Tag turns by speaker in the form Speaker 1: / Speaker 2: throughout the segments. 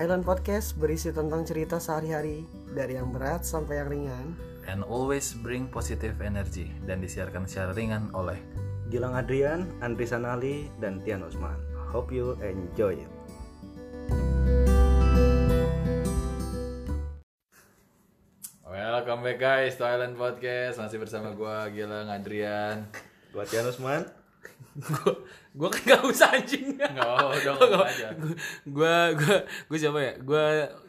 Speaker 1: Island Podcast berisi tentang cerita sehari-hari dari yang berat sampai yang ringan.
Speaker 2: and always bring positive energy dan disiarkan secara ringan oleh
Speaker 3: Gilang Adrian, Andri Sanali, dan Tian Usman. Hope you enjoy it.
Speaker 2: Welcome back guys to Island Podcast masih bersama gua Gilang Adrian
Speaker 3: Buat Tian Usman,
Speaker 4: gue gue kan gak usah anjing
Speaker 2: nggak mau Oh, udah ngomong aja
Speaker 4: gue gue gue siapa ya gue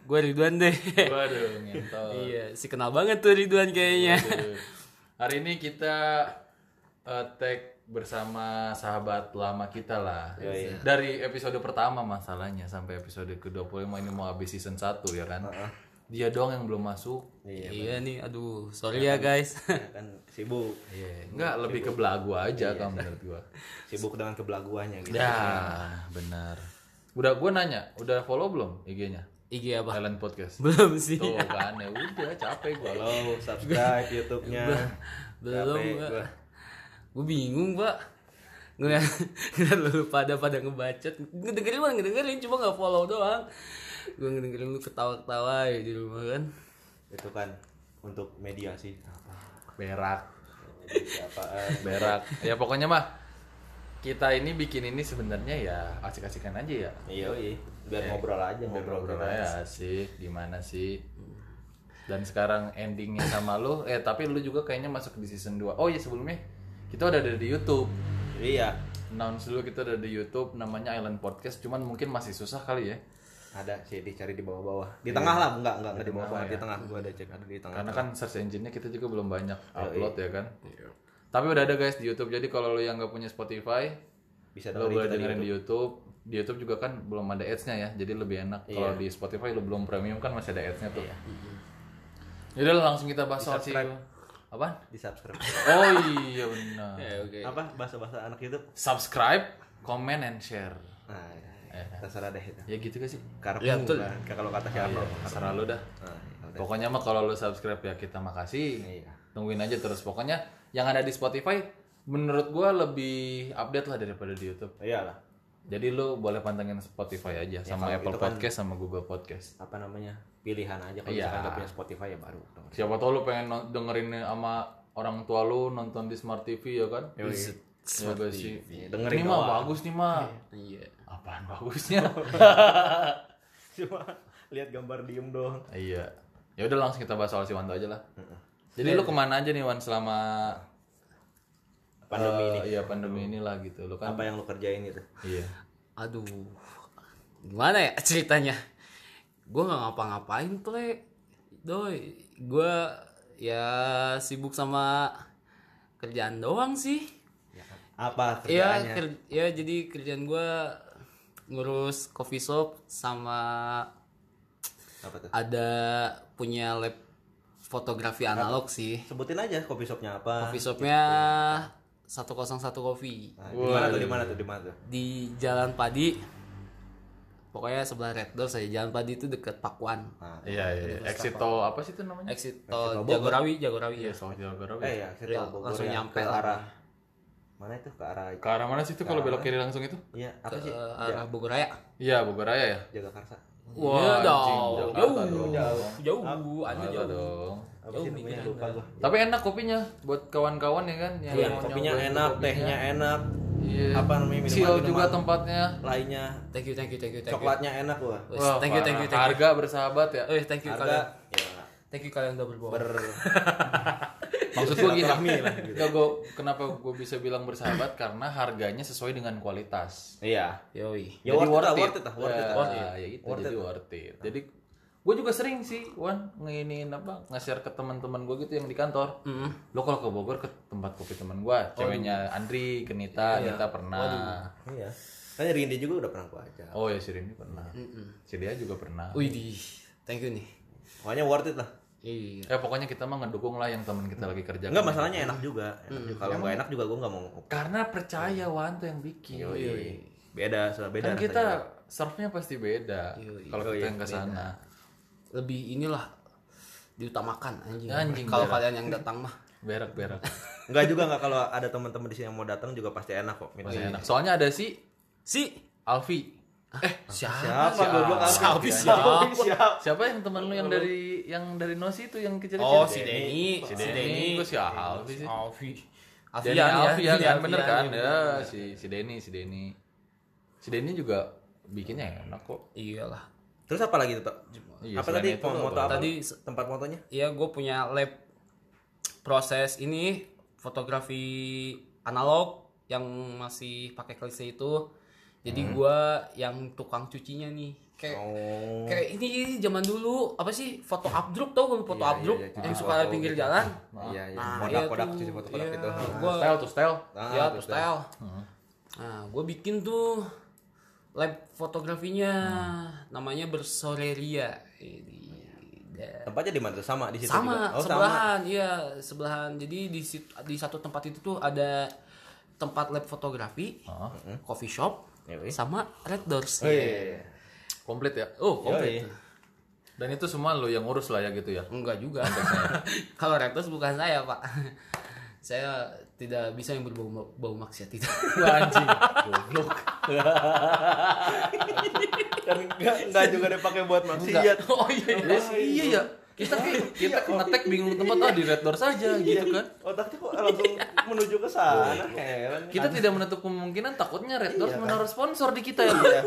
Speaker 4: gue Ridwan deh
Speaker 2: waduh
Speaker 3: Oh.
Speaker 2: ngentot
Speaker 4: iya si kenal banget tuh
Speaker 3: Iya,
Speaker 4: Ridwan kayaknya
Speaker 2: Waduh. hari ini kita eh, tag bersama sahabat lama kita lah dari episode pertama masalahnya sampai episode ke-25 ini mau habis season 1 ya kan dia doang yang belum masuk
Speaker 4: iya nih aduh sorry ya guys
Speaker 3: ya kan sibuk,
Speaker 2: Iya, enggak lebih ke belagu aja kalau menurut gua.
Speaker 3: sibuk dengan kebelaguannya gitu.
Speaker 2: Ya, benar. Udah gue nanya, udah follow belum IG-nya?
Speaker 3: Iya,
Speaker 4: IG apa
Speaker 2: Thailand Podcast.
Speaker 4: belum sih
Speaker 2: Tuh kan, ya udah capek gue.
Speaker 3: Follow, subscribe YouTube-nya.
Speaker 4: belum
Speaker 3: Capek gua.
Speaker 4: pak gue bingung pak ngeliat ngeliat lu pada pada ngebacot ngedengerin mah ngedengerin cuma nggak follow doang gue ngedengerin lu ketawa ketawa ya di rumah kan
Speaker 3: Itu kan untuk media sih. Apa?
Speaker 2: Berak,
Speaker 3: Apaan?
Speaker 2: berak. Ya pokoknya mah kita ini bikin ini sebenarnya ya asik-asikan aja ya.
Speaker 3: Iya, iya. Biar ngobrol aja, ngobrol.
Speaker 2: Ngobrol aja asik, gimana sih? Dan sekarang endingnya sama lu, eh tapi lu juga kayaknya masuk di season 2. Oh iya sebelumnya kita udah ada di YouTube.
Speaker 3: Iya,
Speaker 2: Announce dulu kita udah di YouTube namanya Island Podcast, cuman mungkin masih susah kali ya.
Speaker 3: ada sih dicari di bawah-bawah. Di tengah lah, enggak, enggak, enggak di bawah-bawah, ya. di tengah. Gua ada cek ada di tengah.
Speaker 2: Karena kan search engine-nya kita juga belum banyak upload ya kan. Tapi udah ada guys di YouTube. Jadi kalau lo yang nggak punya Spotify,
Speaker 3: Bisa
Speaker 2: lo
Speaker 3: dengerin
Speaker 2: boleh
Speaker 3: kita di
Speaker 2: dengerin Ya, di YouTube. Di YouTube juga kan belum ada ads-nya ya. Jadi lebih enak. Kalau di Spotify lo belum premium kan masih ada ads-nya tuh. Yaudah lah, langsung kita bahas soal si Apaan?
Speaker 3: di subscribe.
Speaker 2: Oh iya benar.
Speaker 4: ya oke
Speaker 3: Apa bahasa-bahasa anak YouTube?
Speaker 2: Subscribe, comment and share.
Speaker 3: Nah, terserah deh itu.
Speaker 2: Ya gitu gak sih?
Speaker 3: Karpu
Speaker 4: Iya, betul.
Speaker 3: kan, kalau kata siapa?
Speaker 2: Terserah lo dah.
Speaker 3: Nah, ya udah.
Speaker 2: Pokoknya mah kalau lo subscribe ya kita makasih.
Speaker 3: Iya.
Speaker 2: Tungguin aja terus. Pokoknya yang ada di Spotify menurut gua lebih update lah daripada di YouTube.
Speaker 3: Iyalah.
Speaker 2: Jadi lo boleh pantengin Spotify
Speaker 3: Ya,
Speaker 2: aja sama
Speaker 3: gitu
Speaker 2: Apple
Speaker 3: kan
Speaker 2: Podcast sama Google Podcast.
Speaker 3: apa namanya pilihan aja kalau
Speaker 2: Iya.
Speaker 3: misalkan nggak punya Spotify ya baru denger.
Speaker 2: Siapa tau lo pengen no- dengerin sama orang tua lo nonton di Smart TV ya kan? Iya gak sih.
Speaker 3: dengerin
Speaker 2: Ini mah bagus nih mah.
Speaker 4: iya
Speaker 2: Apaan bagusnya?
Speaker 3: cuma lihat gambar diem doang
Speaker 2: iya. Ya udah langsung kita bahas soal si Wanto aja lah.
Speaker 3: Iya,
Speaker 2: Jadi lo kemana aja nih Wan selama
Speaker 3: pandemi ini
Speaker 2: eh, Iya pandemi inilah gitu. Lo kan
Speaker 3: apa yang lu kerjain itu
Speaker 2: Iya.
Speaker 4: Aduh, gimana ya ceritanya? Gue nggak ngapa-ngapain, ple. Doi, gue ya sibuk sama kerjaan doang sih.
Speaker 3: apa
Speaker 4: Ya,
Speaker 3: kerjaannya
Speaker 4: ker- ya jadi kerjaan gue ngurus coffee shop sama
Speaker 3: apa tuh
Speaker 4: ada punya lab fotografi analog sih.
Speaker 3: sebutin aja kopi shopnya apa
Speaker 4: Coffee shopnya 101 Coffee
Speaker 3: Nah, di mana tuh di mana tuh di mana tuh
Speaker 4: di Jalan Padi. Pokoknya sebelah Red Door saya Jalan Padi itu deket Pakuan.
Speaker 2: Iya, iya. iya. Exit tol apa sih itu namanya? iya.
Speaker 4: exit tol Jagorawi Jagorawi ya
Speaker 2: Exit Jagorawi.
Speaker 3: eh ya saya tahu Bogor
Speaker 4: langsung
Speaker 3: ya,
Speaker 4: nyampe
Speaker 3: ke
Speaker 4: lah.
Speaker 3: arah mana itu ke arah
Speaker 2: Ke arah mana sih itu kalau belok kiri langsung itu?
Speaker 3: iya apa sih
Speaker 4: ke arah Bogor Raya
Speaker 2: Iya, Bogor Raya ya.
Speaker 3: jaga karsa
Speaker 4: Iya dong
Speaker 2: anjing,
Speaker 4: jauh
Speaker 2: Jakarta dong.
Speaker 4: jauh anjing
Speaker 2: Jakarta
Speaker 4: jauh
Speaker 2: dong.
Speaker 3: apa sih namanya lupa gua
Speaker 2: Tapi enak kopinya buat kawan-kawan ya kan yang
Speaker 3: Iya,
Speaker 2: mau
Speaker 3: kopinya
Speaker 2: nyobain
Speaker 3: enak
Speaker 2: kopinya.
Speaker 3: tehnya enak
Speaker 2: Iya.
Speaker 3: apa namanya
Speaker 2: Chill
Speaker 3: minuman
Speaker 2: juga tempatnya.
Speaker 3: lainnya
Speaker 4: thank you thank you thank you thank you
Speaker 3: coklatnya enak wah
Speaker 4: Wes, thank you thank you thank you
Speaker 2: Harga bersahabat ya.
Speaker 4: Eh, thank you kalian
Speaker 3: harga ya
Speaker 4: thank you kalian udah berbohong
Speaker 3: ber
Speaker 2: Maksud gua gini.
Speaker 3: Silaturahmi lah, gitu.
Speaker 2: Nggak, gua- kenapa gua bisa bilang bersahabat karena harganya sesuai dengan kualitas.
Speaker 3: Iya.
Speaker 4: yoi
Speaker 3: Ya worth it, lah, worth it, lah, worth it. lah. Iya,
Speaker 2: Ya, ya gitu, jadi worth it. Jadi gue juga sering sih, Wan, ngeinin apa, nge-share ke teman-teman gue gitu yang di kantor. Lo kalau ke Bogor ke tempat kopi teman gue,
Speaker 3: Oh,
Speaker 2: ceweknya Andri, Kenita, Nita pernah.
Speaker 3: Iya. Tanya Rindi juga udah pernah gua aja.
Speaker 2: Oh ya, si Rini pernah. Si dia juga pernah.
Speaker 4: wih di thank you nih
Speaker 3: Pokoknya worth it lah.
Speaker 2: Ya
Speaker 4: iya
Speaker 2: pokoknya kita mah ngedukung lah yang teman kita lagi kerja.
Speaker 3: Enggak masalahnya enak juga. Enak juga. Kalau nggak enak juga gua nggak mau.
Speaker 2: Karena percaya Wan tuh yang bikin.
Speaker 3: Beda, soal Iya. beda.
Speaker 2: Dan Kan kita serve-nya pasti beda. Kalau kita yang ke sana.
Speaker 4: lebih inilah diutamakan anjing
Speaker 2: Anjing,
Speaker 4: kalau kalian yang datang mah
Speaker 2: Berak-berak.
Speaker 3: Enggak juga enggak kalau
Speaker 2: Oh, iya.
Speaker 3: ada teman-teman di sini yang mau datang juga pasti enak kok. Minum.
Speaker 2: Enak. Soalnya ada si
Speaker 4: si
Speaker 2: Alfi.
Speaker 4: Eh, siapa?
Speaker 3: Siapa goblok
Speaker 4: Siapa?
Speaker 3: Alvin?
Speaker 4: Siapa?
Speaker 3: Siapa?
Speaker 2: Siapa yang teman lu yang dari yang dari Nosi itu yang kecil-kecil?
Speaker 4: Oh, si Denny.
Speaker 2: Si Denny. Gue si Alfi sih.
Speaker 4: Alfi.
Speaker 2: Denny
Speaker 4: Alfian ya.
Speaker 2: Alfi ya
Speaker 4: Denny
Speaker 2: kan bener
Speaker 4: Alfian,
Speaker 2: kan?
Speaker 4: iya,
Speaker 2: Ya
Speaker 4: bener.
Speaker 2: si si Denny, si Denny. Si Denny juga bikinnya enak kok.
Speaker 4: Iyalah.
Speaker 3: Terus apa lagi tuh? Tok?
Speaker 2: Iya,
Speaker 3: apa
Speaker 2: selain
Speaker 3: tadi
Speaker 2: itu
Speaker 3: mau
Speaker 2: apa?
Speaker 3: moto apa?
Speaker 4: Tadi
Speaker 3: Tadi tempat motonya?
Speaker 4: Iya, gue punya lab proses ini fotografi analog yang masih pakai klise itu. Jadi gua yang tukang cucinya nih. Kayak
Speaker 3: Hmm. Oh.
Speaker 4: kayak ini zaman dulu apa sih foto abdruk tau gak foto abdruk
Speaker 3: iya, cuci
Speaker 4: yang suka ada
Speaker 3: foto
Speaker 4: pinggir
Speaker 3: gitu.
Speaker 4: jalan.
Speaker 3: Iya, iya.
Speaker 4: Nah, iya
Speaker 3: Kodak-kodak
Speaker 4: tuh.
Speaker 3: cuci gitu. foto-kodak
Speaker 4: Iya.
Speaker 3: itu.
Speaker 4: Gua-
Speaker 2: Style tuh style.
Speaker 3: Ah, Hmm.
Speaker 4: ya
Speaker 3: tuh
Speaker 4: tuh style. Nah, gue bikin tuh lab fotografinya namanya bersoreria. Ini da-
Speaker 3: Tempatnya di mana tuh? Sama di situ juga.
Speaker 4: sama
Speaker 3: Oh, sama.
Speaker 4: sebelahan, iya sebelahan. Jadi di sit- di satu tempat itu tuh ada tempat lab fotografi, Hmm. coffee shop,
Speaker 3: Oh. Yoi.
Speaker 4: sama red doors.
Speaker 3: Iya.
Speaker 2: Komplit ya. Oh, komplit.
Speaker 3: Yoi.
Speaker 2: Dan itu semua lu yang ngurus lah ya gitu ya.
Speaker 4: Enggak juga. Kalau red doors bukan saya pak. Saya tidak bisa yang berbau bau maksiat itu.
Speaker 2: Anjing. Goblok.
Speaker 3: Kan enggak enggak juga dipakai buat maksiat.
Speaker 4: oh iya.
Speaker 2: Ya, iya ya. Kita kita ngetek bingung tempat oh di red door saja gitu kan.
Speaker 3: Otaknya kok langsung menuju ke sana. Heran. ya.
Speaker 2: Kita tidak menutup kemungkinan takutnya Red Doors menaruh sponsor di kita ya. Bu?
Speaker 3: Iya.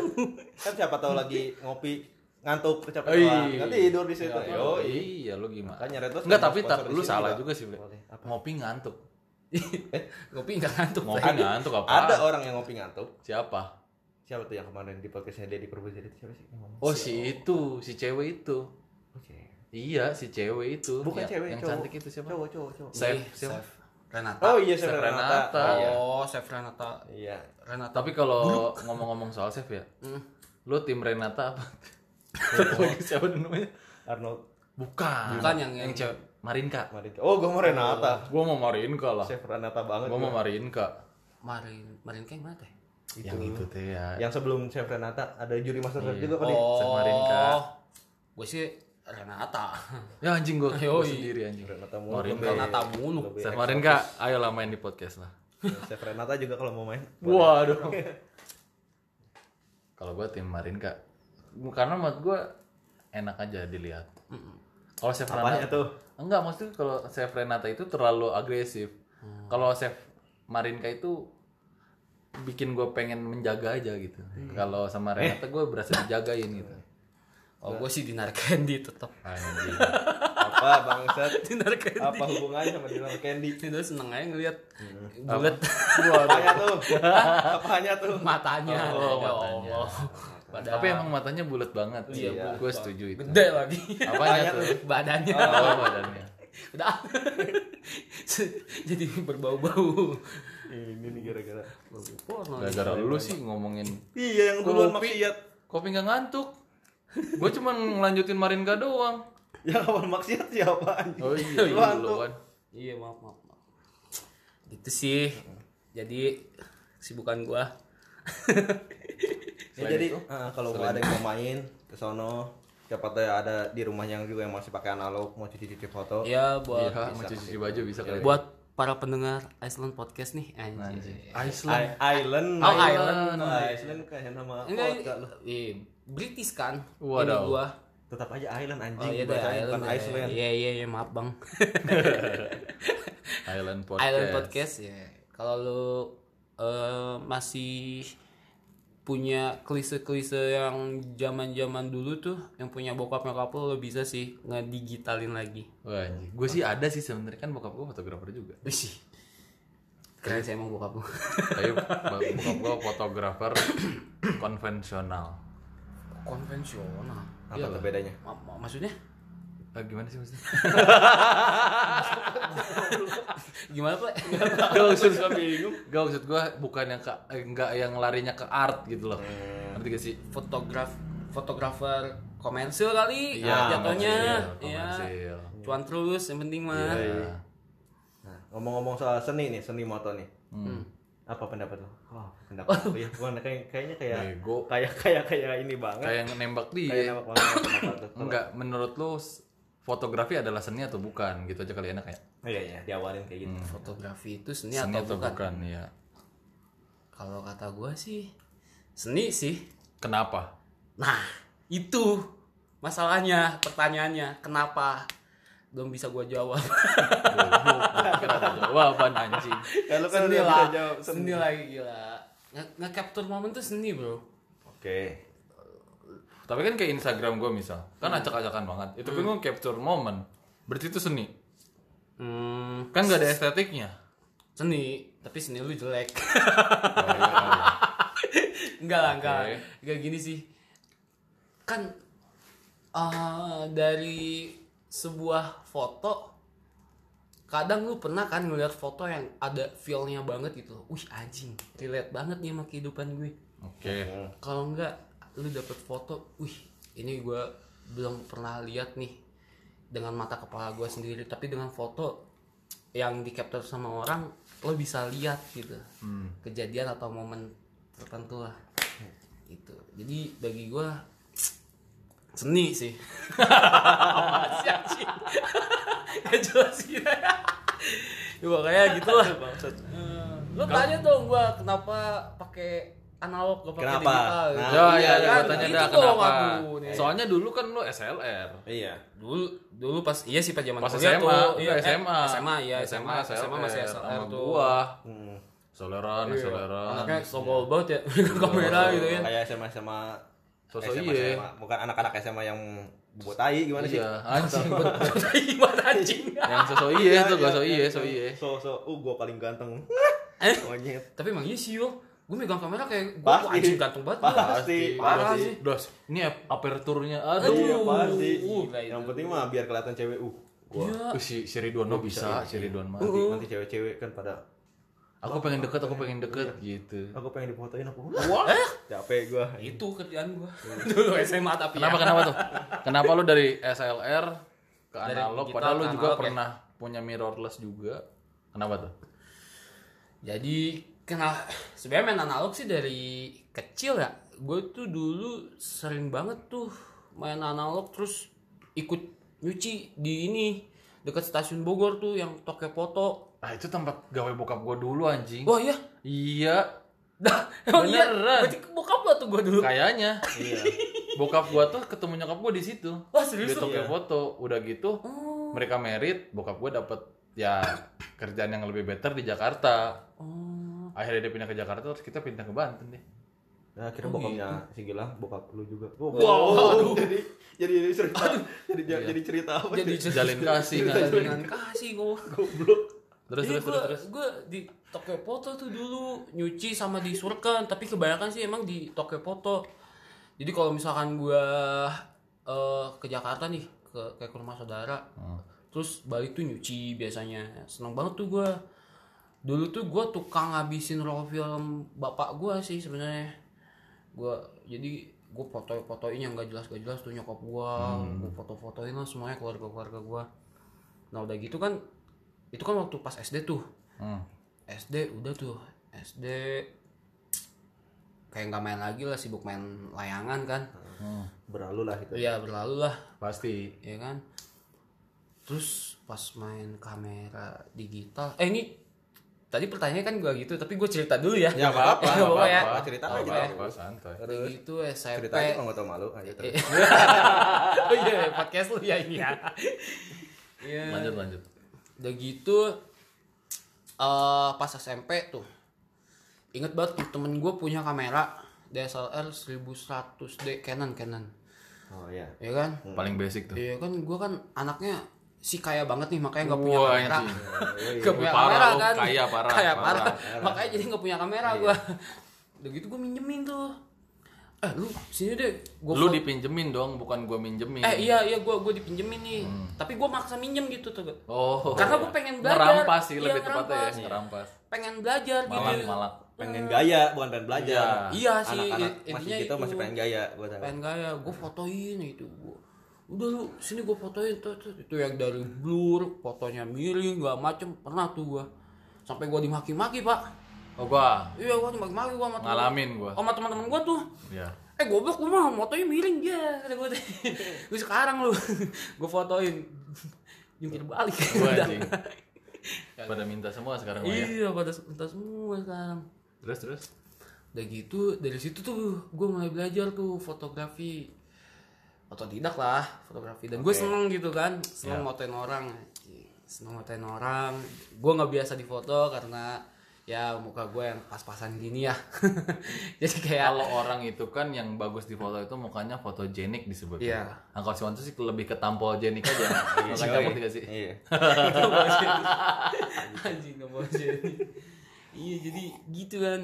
Speaker 3: Kan siapa tahu lagi ngopi ngantuk
Speaker 2: Oi.
Speaker 3: kecapean. Nanti tidur di situ.
Speaker 2: Yo, Oh, iya lu gimana?
Speaker 3: Iya, Makanya Red Doors
Speaker 2: Enggak,
Speaker 3: nggak
Speaker 2: tapi
Speaker 3: mau
Speaker 2: tak
Speaker 3: sponsor di
Speaker 2: lu
Speaker 3: sini
Speaker 2: salah
Speaker 3: juga.
Speaker 2: juga sih, Bre. Ngopi ngantuk.
Speaker 4: Kopi nggak ngantuk.
Speaker 2: Ngopi
Speaker 4: Pak.
Speaker 2: ngantuk apa?
Speaker 3: Iya, Ada oh. orang yang ngopi ngantuk.
Speaker 2: Siapa?
Speaker 3: Siapa tuh yang kemarin di podcastnya Deddy Corbuzier itu siapa sih? Yang ngomong?
Speaker 2: Oh, si itu, si cewek itu.
Speaker 3: Oke.
Speaker 2: Iya, si cewek itu.
Speaker 3: Bukan
Speaker 2: Ya,
Speaker 3: cewek,
Speaker 2: yang
Speaker 3: cowok.
Speaker 2: cantik itu siapa?
Speaker 3: Cowok, cowok, cowok.
Speaker 2: Chef,
Speaker 4: Ih,
Speaker 2: siapa?
Speaker 4: Chef Renata.
Speaker 3: Oh iya,
Speaker 2: Ah, Chef
Speaker 3: Chef
Speaker 2: Renata.
Speaker 3: Renata. Iya.
Speaker 4: Iya, Oh, Chef Renata.
Speaker 3: Iya.
Speaker 4: Renata.
Speaker 2: Tapi kalau ngomong-ngomong soal Chef ya,
Speaker 3: Hmm.
Speaker 2: lu tim Renata apa? Satu lagi siapa namanya?
Speaker 3: Arnold
Speaker 2: Bukan.
Speaker 4: Bukan yang-
Speaker 2: yang cewek. Marinka.
Speaker 3: Marinka. Oh, gue mau Renata.
Speaker 2: Gua mau Marinka lah.
Speaker 3: Chef Renata banget.
Speaker 2: Gua
Speaker 3: gua.
Speaker 2: mau Marinka.
Speaker 4: Marin Marin kayak mana teh?
Speaker 2: Yang itu teh ya.
Speaker 3: Yang sebelum Chef Renata ada juri master chef
Speaker 2: Iya.
Speaker 3: juga kan?
Speaker 2: Chef Marinka.
Speaker 4: Gue sih Renata.
Speaker 2: Ya anjing gua, gua sendiri anjing.
Speaker 3: Renata mau.
Speaker 2: Marinka.
Speaker 4: Renata mulu.
Speaker 2: Chef Marinka, ayolah main di podcast lah.
Speaker 3: Chef Renata juga kalau mau main.
Speaker 2: Waduh. Kalau gua tim Marinka. Karena menurut gua enak aja dilihat. Kalau Chef
Speaker 3: Apanya
Speaker 2: Renata
Speaker 3: tuh?
Speaker 2: Enggak, maksudnya kalau Chef Renata itu terlalu agresif. Kalau Chef Marinka itu bikin gue pengen menjaga aja gitu. Kalau sama Renata gue berasa dijagain gitu.
Speaker 4: Oh, gue sih Dinar Candy tetap.
Speaker 2: Anjing.
Speaker 3: Apa bangsat?
Speaker 4: Dinar Candy.
Speaker 3: Apa hubungannya sama Dinar Candy?
Speaker 4: Itu seneng aja ngeliat
Speaker 2: Hmm.
Speaker 4: bulat
Speaker 3: Apanya tuh? Apanya tuh?
Speaker 4: matanya.
Speaker 2: Oh,
Speaker 4: Ya
Speaker 2: matanya.
Speaker 4: Allah. Padahal
Speaker 2: Tapi ya, emang matanya bulat banget.
Speaker 4: Iya,
Speaker 2: gue setuju itu.
Speaker 4: gede lagi.
Speaker 2: Apanya tuh?
Speaker 4: Badannya.
Speaker 2: Oh, badannya.
Speaker 4: Udah. Jadi berbau-bau.
Speaker 3: Ini nih gara-gara.
Speaker 4: Porno.
Speaker 2: Gara-gara lu sih ngomongin
Speaker 3: Iya yang duluan maksiat.
Speaker 2: kopi nggak ngantuk. Gue cuman ngelanjutin Marinka doang.
Speaker 3: Yang awal maksiat siapa anjing?
Speaker 2: Oh iya,
Speaker 3: Lu
Speaker 2: iya
Speaker 3: hantu.
Speaker 2: duluan.
Speaker 4: Iya maaf maaf. maaf. Gitu sih. Jadi kesibukan gua.
Speaker 3: Ya, jadi eh, kalau mau ada yang mau main ke sono, siapa tahu ada di rumahnya yang juga yang masih pakai analog mau cuci-cuci foto.
Speaker 4: ya buat
Speaker 2: Iya, mau cuci baju bisa kali.
Speaker 4: buat para pendengar Iceland podcast nih anjir.
Speaker 2: Iya. Anjing. Iceland.
Speaker 3: I- Island.
Speaker 4: Oh,
Speaker 3: Island. Ah,
Speaker 4: Island.
Speaker 3: Island kayak nama kota
Speaker 4: Enggak,
Speaker 3: lu.
Speaker 4: iya, British kan.
Speaker 2: Waduh.
Speaker 4: Ini gua.
Speaker 3: Tetap aja Island anjing.
Speaker 4: Oh iya deh,
Speaker 3: bahasanya
Speaker 4: Island.
Speaker 3: bukan
Speaker 4: deh.
Speaker 3: Iceland.
Speaker 4: Iya iya iya maaf Bang.
Speaker 2: Island podcast.
Speaker 4: Island podcast ya. Kalau lu eh, masih punya klise-klise yang zaman-zaman dulu tuh yang punya bokap nyokap lu, lu bisa sih ngedigitalin lagi.
Speaker 2: Wah, anjing. Gue sih ada sih sebenarnya kan bokap gue fotografer juga.
Speaker 4: Wih sih. Keren sih emang bokap lu.
Speaker 2: Tapi bo- bokap gue fotografer konvensional.
Speaker 4: Konvensional.
Speaker 3: Apa tuh bedanya?
Speaker 4: Ma- ma- maksudnya?
Speaker 2: Eh, gimana sih maksudnya?
Speaker 4: Gimana, Pak?
Speaker 2: Gak maksud gue bingung. Gak maksud gue bukan yang ke, eh, nggak yang larinya ke art gitu loh. Ngerti gak sih?
Speaker 4: Fotograf fotografer komersil kali ah,
Speaker 2: Iya,
Speaker 4: jatuhnya.
Speaker 2: komersil,
Speaker 4: Iya.
Speaker 2: komersil.
Speaker 4: Cuan terus yang penting mah.
Speaker 2: Iya.
Speaker 3: Nah, ngomong-ngomong soal seni nih, seni moto nih.
Speaker 4: Hmm.
Speaker 3: Apa pendapat lo? Oh, pendapat lo ya. Gua kayak- kayaknya kayak
Speaker 2: Bego.
Speaker 3: kayak kayak kayak ini banget.
Speaker 2: Kayak nembak
Speaker 3: Kayak
Speaker 2: dia.
Speaker 3: nama banget pendapat lo.
Speaker 2: Enggak, menurut lu s- fotografi adalah seni atau bukan? Gitu aja kali enak ya.
Speaker 4: Hmm.
Speaker 3: Iya iya, diawalin kayak gitu.
Speaker 4: Fotografi itu seni,
Speaker 2: Seni Iya.
Speaker 4: atau bukan?
Speaker 2: ya.
Speaker 4: Kalau kata gua sih seni sih.
Speaker 2: Kenapa?
Speaker 4: Nah, itu masalahnya, pertanyaannya, kenapa? Belum bisa gua jawab.
Speaker 2: Jawaban anjing.
Speaker 3: Ya lu kan
Speaker 4: seni
Speaker 3: udah
Speaker 4: lah,
Speaker 3: bisa jawab
Speaker 4: seni lagi gila. Nge- Nge-capture momen tuh seni, Bro.
Speaker 3: Oke.
Speaker 2: Tapi kan kayak Instagram gue misal, kan acak-acakan banget. Itu kan gue capture moment. Berarti itu seni.
Speaker 4: Hmm,
Speaker 2: Kan gak ada estetiknya.
Speaker 4: seni, tapi seni lu jelek. enggak lah, enggak.
Speaker 2: Oke.
Speaker 4: Enggak gini sih. Kan ah, dari sebuah foto kadang lu pernah kan ngeliat foto yang ada feel-nya banget gitu. Wih, anjing, relate banget nih sama kehidupan gue.
Speaker 2: Oke.
Speaker 4: Kalau enggak lu dapet foto, wih, ini gue belum pernah lihat nih dengan mata kepala gue sendiri, tapi dengan foto yang di capture sama orang lo bisa lihat gitu kejadian atau momen tertentu lah gitu jadi bagi gue seni sih Apa sih, anjing? Gak jelas gitu ya makanya gitu lah Eh, lo tanya dong gue kenapa pakai analog gak pakai
Speaker 3: Kenapa?
Speaker 4: digital
Speaker 3: Nah,
Speaker 2: Ya, ya,
Speaker 4: Iya
Speaker 2: ya,
Speaker 4: kan?
Speaker 2: gua tanya
Speaker 4: Gitu
Speaker 2: dah
Speaker 4: dong
Speaker 2: kenapa.
Speaker 4: aku nih.
Speaker 2: Soalnya dulu kan lu SLR.
Speaker 3: Iya.
Speaker 4: dulu dulu pas iya sih pas zaman
Speaker 2: Pas
Speaker 4: kuliah
Speaker 2: SMA,
Speaker 4: tuh, Eh,
Speaker 2: iya, SMA.
Speaker 4: SMA ya
Speaker 2: SMA,
Speaker 4: SMA SMA, masih
Speaker 2: SLR
Speaker 4: SLR
Speaker 2: sama Iya.
Speaker 4: tuh Iya.
Speaker 2: gua.
Speaker 3: Hmm.
Speaker 2: Soleran, soleran.
Speaker 4: anaknya sokol banget ya kamera gitu ya
Speaker 3: Kayak SMA SMA
Speaker 2: Sosok
Speaker 3: SMA,
Speaker 2: iya.
Speaker 3: SMA. Bukan anak-anak SMA yang buat tai gimana sih?
Speaker 2: Iya, anjing.
Speaker 4: gimana anjing
Speaker 2: Yang sosok iya itu gak
Speaker 3: iya,
Speaker 2: so iya,
Speaker 3: iya.
Speaker 2: so iya.
Speaker 3: So so, uh gua paling ganteng.
Speaker 4: Eh?
Speaker 3: Monyet.
Speaker 4: tapi emang iya sih yo gue megang kamera kayak gue
Speaker 3: Pasti.
Speaker 4: anjing ganteng banget gua.
Speaker 3: Pasti,
Speaker 4: parah
Speaker 3: pasti.
Speaker 4: sih
Speaker 2: Dos, ini ap- aperturnya
Speaker 3: Iya,
Speaker 2: aduh.
Speaker 3: pasti.
Speaker 4: gila itu.
Speaker 3: Yang penting mah biar kelihatan cewek uh. Gua
Speaker 4: Iya.
Speaker 2: Uh, si si Ridwan lo bisa, iya. Uh. si Ridwan mah.
Speaker 3: nanti, nanti cewek-cewek kan pada
Speaker 2: Aku pengen deket, aku pengen deket gitu.
Speaker 3: aku pengen difotoin aku.
Speaker 4: Eh,
Speaker 3: Capek gua.
Speaker 4: itu kerjaan gue dulu SMA tapi
Speaker 2: Kenapa
Speaker 4: ya.
Speaker 2: kenapa tuh? Kenapa lu dari SLR ke
Speaker 4: Dari
Speaker 2: analog
Speaker 4: digital
Speaker 2: padahal lu
Speaker 4: ke
Speaker 2: juga
Speaker 4: analog ya?
Speaker 2: pernah punya mirrorless juga. Kenapa tuh?
Speaker 4: jadi kenal sebenarnya main analog sih dari kecil ya gue tuh dulu sering banget tuh main analog terus ikut nyuci di ini dekat stasiun Bogor tuh yang toke foto
Speaker 2: Ah itu tempat gawe bokap gua dulu anjing.
Speaker 4: wah iya
Speaker 2: Iya,
Speaker 4: dah emang iya
Speaker 2: Beneran.
Speaker 4: berarti bokap lo tuh gue dulu
Speaker 2: kayaknya.
Speaker 3: Iya.
Speaker 2: Bokap gua tuh ketemu nyokap gua di situ.
Speaker 4: wah serius
Speaker 2: Dia
Speaker 4: tuh Iya. Oh.
Speaker 2: toke foto, udah gitu mereka merit, bokap gua dapet ya kerjaan yang lebih better di Jakarta.
Speaker 4: oh
Speaker 2: Akhirnya dia pindah ke Jakarta terus kita pindah ke Banten deh.
Speaker 3: Nah, akhirnya bokapnya si Gilang, bokap lu juga. Wow, jadi jadi jadi cerita. jadi jadi cerita apa?
Speaker 4: jadi
Speaker 3: sih?
Speaker 2: Jalin kasih kan.
Speaker 4: jalan kasih gue
Speaker 3: goblok.
Speaker 2: Terus
Speaker 4: Jadi
Speaker 2: terus terus.
Speaker 4: gua,
Speaker 2: terus.
Speaker 4: gua di Tokyo Poto tuh dulu nyuci sama di Surken, tapi kebanyakan sih emang di Tokyo Poto. Jadi kalau misalkan gua eh, ke Jakarta nih, ke kayak ke rumah saudara, terus balik tuh nyuci biasanya. Seneng banget tuh gua. Dulu tuh gua tukang ngabisin roll film bapak gua sih sebenarnya. Gua jadi gua foto-fotoin yang gak jelas gak jelas tuh nyokap gua, gua foto-fotoin lah semuanya keluarga-keluarga gua. Nah udah gitu kan itu kan waktu pas SD tuh
Speaker 2: Hmm.
Speaker 4: SD udah tuh SD kayak nggak main lagi lah sibuk main layangan kan
Speaker 3: Beralu lah itu.
Speaker 4: ya berlalu lah
Speaker 2: Pasti
Speaker 4: ya kan terus pas main kamera digital eh ini tadi pertanyaannya kan gua gitu tapi gue cerita dulu ya
Speaker 3: Ya, apa-apa,
Speaker 4: Nggak
Speaker 3: nggak
Speaker 4: apa-apa ya
Speaker 3: apa-apa, cerita
Speaker 4: Nggak
Speaker 3: aja.
Speaker 4: apa-apa
Speaker 2: apa santai.
Speaker 4: ya. Udah gitu SMP
Speaker 3: Cerita aja kalau nggak tau malu. Ayo terus.
Speaker 4: oh iya podcast lu ya ini ya Iya.
Speaker 2: Lanjut lanjut.
Speaker 4: Udah gitu eh pas SMP tuh. Ingat banget tuh, temen gue punya kamera DSLR 1100D Canon Canon.
Speaker 3: Oh iya.
Speaker 4: Ya kan?
Speaker 2: Paling basic tuh.
Speaker 4: Iya kan gue kan anaknya si kaya banget nih makanya nggak punya
Speaker 2: Wah,
Speaker 4: kamera.
Speaker 2: anjing.
Speaker 4: Gak punya
Speaker 2: Parah
Speaker 4: kamera
Speaker 2: lu,
Speaker 4: kan.
Speaker 2: kaya parah,
Speaker 4: Kaya
Speaker 2: parah, Iya.
Speaker 4: parah. Makanya jadi nggak punya kamera gue. Udah gitu gue minjemin tuh. Eh lu sini deh. Gua
Speaker 2: Lu
Speaker 4: foto-
Speaker 2: dipinjemin dong, bukan gua minjemin.
Speaker 4: Eh iya iya gue gue dipinjemin nih.
Speaker 2: Hmm.
Speaker 4: Tapi gue maksa minjem gitu tuh.
Speaker 2: Oh.
Speaker 4: Karena gua pengen belajar.
Speaker 2: Ngerampas sih
Speaker 4: Iya,
Speaker 2: lebih tepatnya ya,
Speaker 4: ngerampas.
Speaker 2: ngerampas.
Speaker 4: Pengen belajar
Speaker 2: Malah
Speaker 4: gitu.
Speaker 2: malah.
Speaker 3: Pengen gaya, bukan pengen belajar.
Speaker 4: Iya sih,
Speaker 3: Anak-anak
Speaker 4: i-
Speaker 3: masih
Speaker 4: intinya
Speaker 3: gitu
Speaker 4: itu.
Speaker 3: masih pengen gaya. Gua tahu.
Speaker 4: pengen gaya gue fotoin itu gue udah lu sini gue fotoin tuh, tuh. itu yang dari blur fotonya miring gak macem pernah tuh gue sampai gue dimaki-maki pak
Speaker 2: Oh gua
Speaker 4: iya gue dimaki-maki gue sama temen-
Speaker 2: ngalamin gua.
Speaker 4: sama teman-teman gue tuh
Speaker 2: Iya.
Speaker 4: eh goblok lu mah fotonya miring dia kata gue lu sekarang lu gue fotoin jungkir balik
Speaker 2: Gua
Speaker 4: Udah.
Speaker 2: anjing. Iya. Pada minta semua sekarang Maya.
Speaker 4: iya pada pada semua sekarang
Speaker 2: Terus terus.
Speaker 4: udah gitu dari situ tuh gue mulai belajar tuh fotografi atau tidak lah fotografi dan gue seneng gitu kan seneng motoin orang anjing. seneng motoin orang gue nggak biasa difoto karena ya muka gue yang pas-pasan gini ya jadi kayak
Speaker 2: Kalau orang itu kan yang bagus di foto itu mukanya fotogenik disebutnya.
Speaker 4: Iya.
Speaker 2: Nah, kalau si Wan tuh sih lebih ke tampogenik aja. Makanya ngerti gak sih?
Speaker 3: Iya.
Speaker 4: Nggak mau jadi. anjing nggak mau jadi iya jadi gitu kan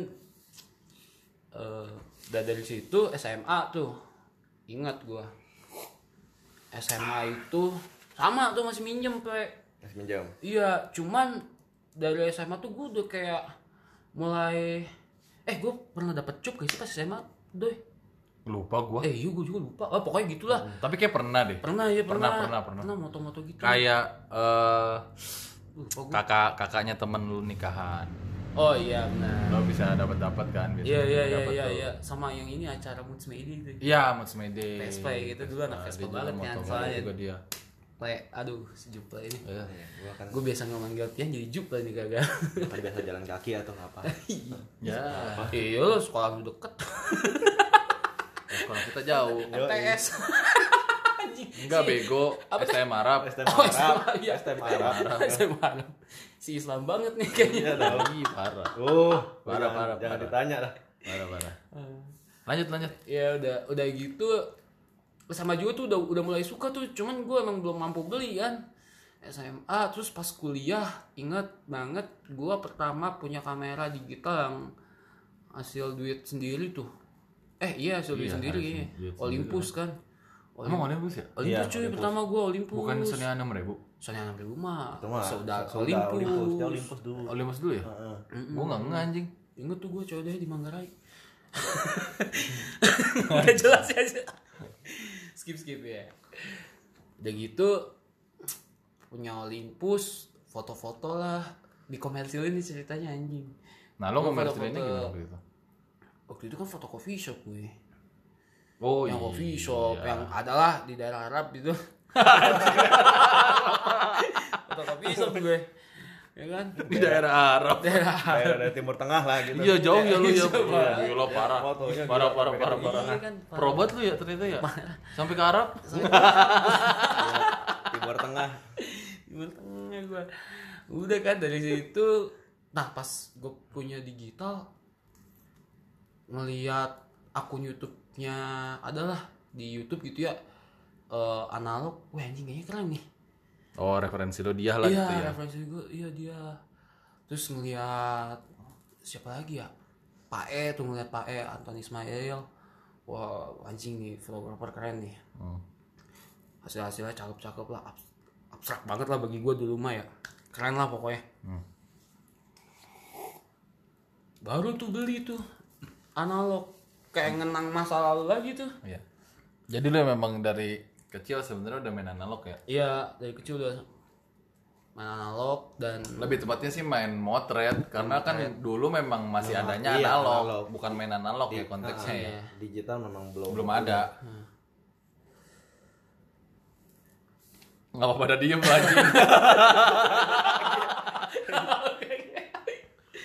Speaker 4: Eh, udah dari situ SMA tuh ingat gua SMA itu sama tuh masih minjem pe
Speaker 3: Mas minjam.
Speaker 4: Iya, cuman dari SMA tuh gue udah kayak mulai eh gue pernah dapet cup gak sih pas SMA doi
Speaker 2: Lupa gua.
Speaker 4: eh iya gue juga lupa oh, pokoknya gitulah
Speaker 2: Tapi kayak pernah deh.
Speaker 4: pernah ya pernah
Speaker 2: Hmm. pernah, pernah.
Speaker 4: moto-moto gitu
Speaker 2: Kayak eh,
Speaker 4: lupa gue
Speaker 2: kakak kakaknya temen lu nikahan.
Speaker 4: oh iya benar
Speaker 2: Lo bisa dapat dapat kan biasanya.
Speaker 4: iya iya iya
Speaker 2: Dapet
Speaker 4: iya
Speaker 2: tuh.
Speaker 4: iya sama yang ini acara Moods Medi itu
Speaker 2: Iya, Mas Mede.
Speaker 4: Vespa ya gitu, dulu anak Vespa
Speaker 2: Dia juga
Speaker 4: banget kan,
Speaker 2: motor
Speaker 4: soalnya.
Speaker 2: juga dia.
Speaker 4: le aduh si Jupla ini
Speaker 2: Iya.
Speaker 3: Gua kan
Speaker 4: gue biasa nggak manggil Tian jadi Jupla nih kagak
Speaker 3: tadi biasa jalan kaki atau apa.
Speaker 2: Ya.
Speaker 4: iya lo sekolah lu deket
Speaker 2: Kalau kita jauh.
Speaker 4: MTS
Speaker 2: Enggak bego. STM Arab.
Speaker 3: STM
Speaker 4: Oh,
Speaker 3: Arab,
Speaker 4: STM, iya.
Speaker 3: STM Arab.
Speaker 4: SMA Arab. si Islam banget nih kayaknya
Speaker 3: Iya dong.
Speaker 2: Ih, parah.
Speaker 3: Uh,
Speaker 2: Parah,
Speaker 3: jangan-
Speaker 2: parah,
Speaker 3: Jangan
Speaker 2: parah.
Speaker 3: ditanya lah.
Speaker 2: Parah parah.
Speaker 4: Hmm.
Speaker 2: Lanjut lanjut.
Speaker 4: ya udah udah gitu sama juga tuh udah udah mulai suka tuh cuman gue emang belum mampu beli kan SMA terus pas kuliah inget banget gue pertama punya kamera digital yang hasil duit sendiri tuh eh iya hasil duit
Speaker 2: Iya,
Speaker 4: sendiri
Speaker 2: hasil
Speaker 4: kayaknya.
Speaker 2: duit sendiri.
Speaker 4: Olympus kan Olympus,
Speaker 2: Emang Olympus ya?
Speaker 4: Olympus
Speaker 3: Iya,
Speaker 4: cuy pertama gue Olympus
Speaker 2: Bukan Sonia 6000 ribu.
Speaker 4: Soalnya sampai rumah
Speaker 3: Itu mah
Speaker 4: saudara
Speaker 3: saudara
Speaker 4: Olympus,
Speaker 3: Olympus, dia Olympus dulu.
Speaker 2: Olympus dulu ya?
Speaker 3: Heeh.
Speaker 2: Gue nggak nge anjing.
Speaker 4: Ingat tuh gue cowoknya di Manggarai. Udah jelas ya. skip skip ya. Udah gitu punya Olympus, foto-foto lah di komersil ini ceritanya anjing.
Speaker 2: Nah lo
Speaker 4: Gua
Speaker 2: komersilinnya
Speaker 4: foto-foto.
Speaker 2: gimana waktu itu?
Speaker 4: Waktu itu kan foto coffee shop gue.
Speaker 2: Oh
Speaker 4: yang coffee shop ya.
Speaker 2: iya.
Speaker 4: yang adalah di daerah Arab gitu. foto coffee shop gue. Ya kan?
Speaker 2: di daerah Arab.
Speaker 4: Daerah
Speaker 3: Daerah dari Timur Tengah lah gitu.
Speaker 2: Iya jauh ya lu ya.
Speaker 4: Iya, parah.
Speaker 2: Iya lo parah.
Speaker 3: Fotonya
Speaker 2: Parah
Speaker 3: gila,
Speaker 2: parah parah
Speaker 4: Iya
Speaker 2: parah.
Speaker 4: kan, parah.
Speaker 2: Probat lu ya ternyata ya. Sampai ke Arab.
Speaker 3: Timur Tengah.
Speaker 4: Timur Tengah gua. Udah kan dari situ nah pas gue punya digital ngeliat akun YouTube-nya adalah di YouTube gitu ya eh, analog, wah anjing kayaknya keren nih.
Speaker 2: Oh referensi lo dia lah
Speaker 4: iya,
Speaker 2: gitu ya.
Speaker 4: referensi gue, iya dia. Terus ngeliat siapa lagi ya? Pak E tuh ngeliat Pak E, Anton Ismail. Wah anjing nih fotografer keren nih.
Speaker 2: Hmm.
Speaker 4: hasil-hasilnya cakep-cakep lah abs- abstrak banget lah bagi gue dulu mah ya keren lah pokoknya baru tuh beli tuh analog kayak ngenang masa lalu lagi tuh
Speaker 2: Iya. Jadi lo memang dari kecil sebenarnya udah main analog ya.
Speaker 4: iya dari kecil udah main analog dan
Speaker 2: Lebih tepatnya sih main motret karena kan dulu memang masih adanya
Speaker 3: iya,
Speaker 2: analog,
Speaker 3: analog.
Speaker 2: bukan main analog ya konteksnya ya.
Speaker 4: Iya.
Speaker 3: Digital memang belum.
Speaker 2: Belum ada. Nggak apa pada diem lagi.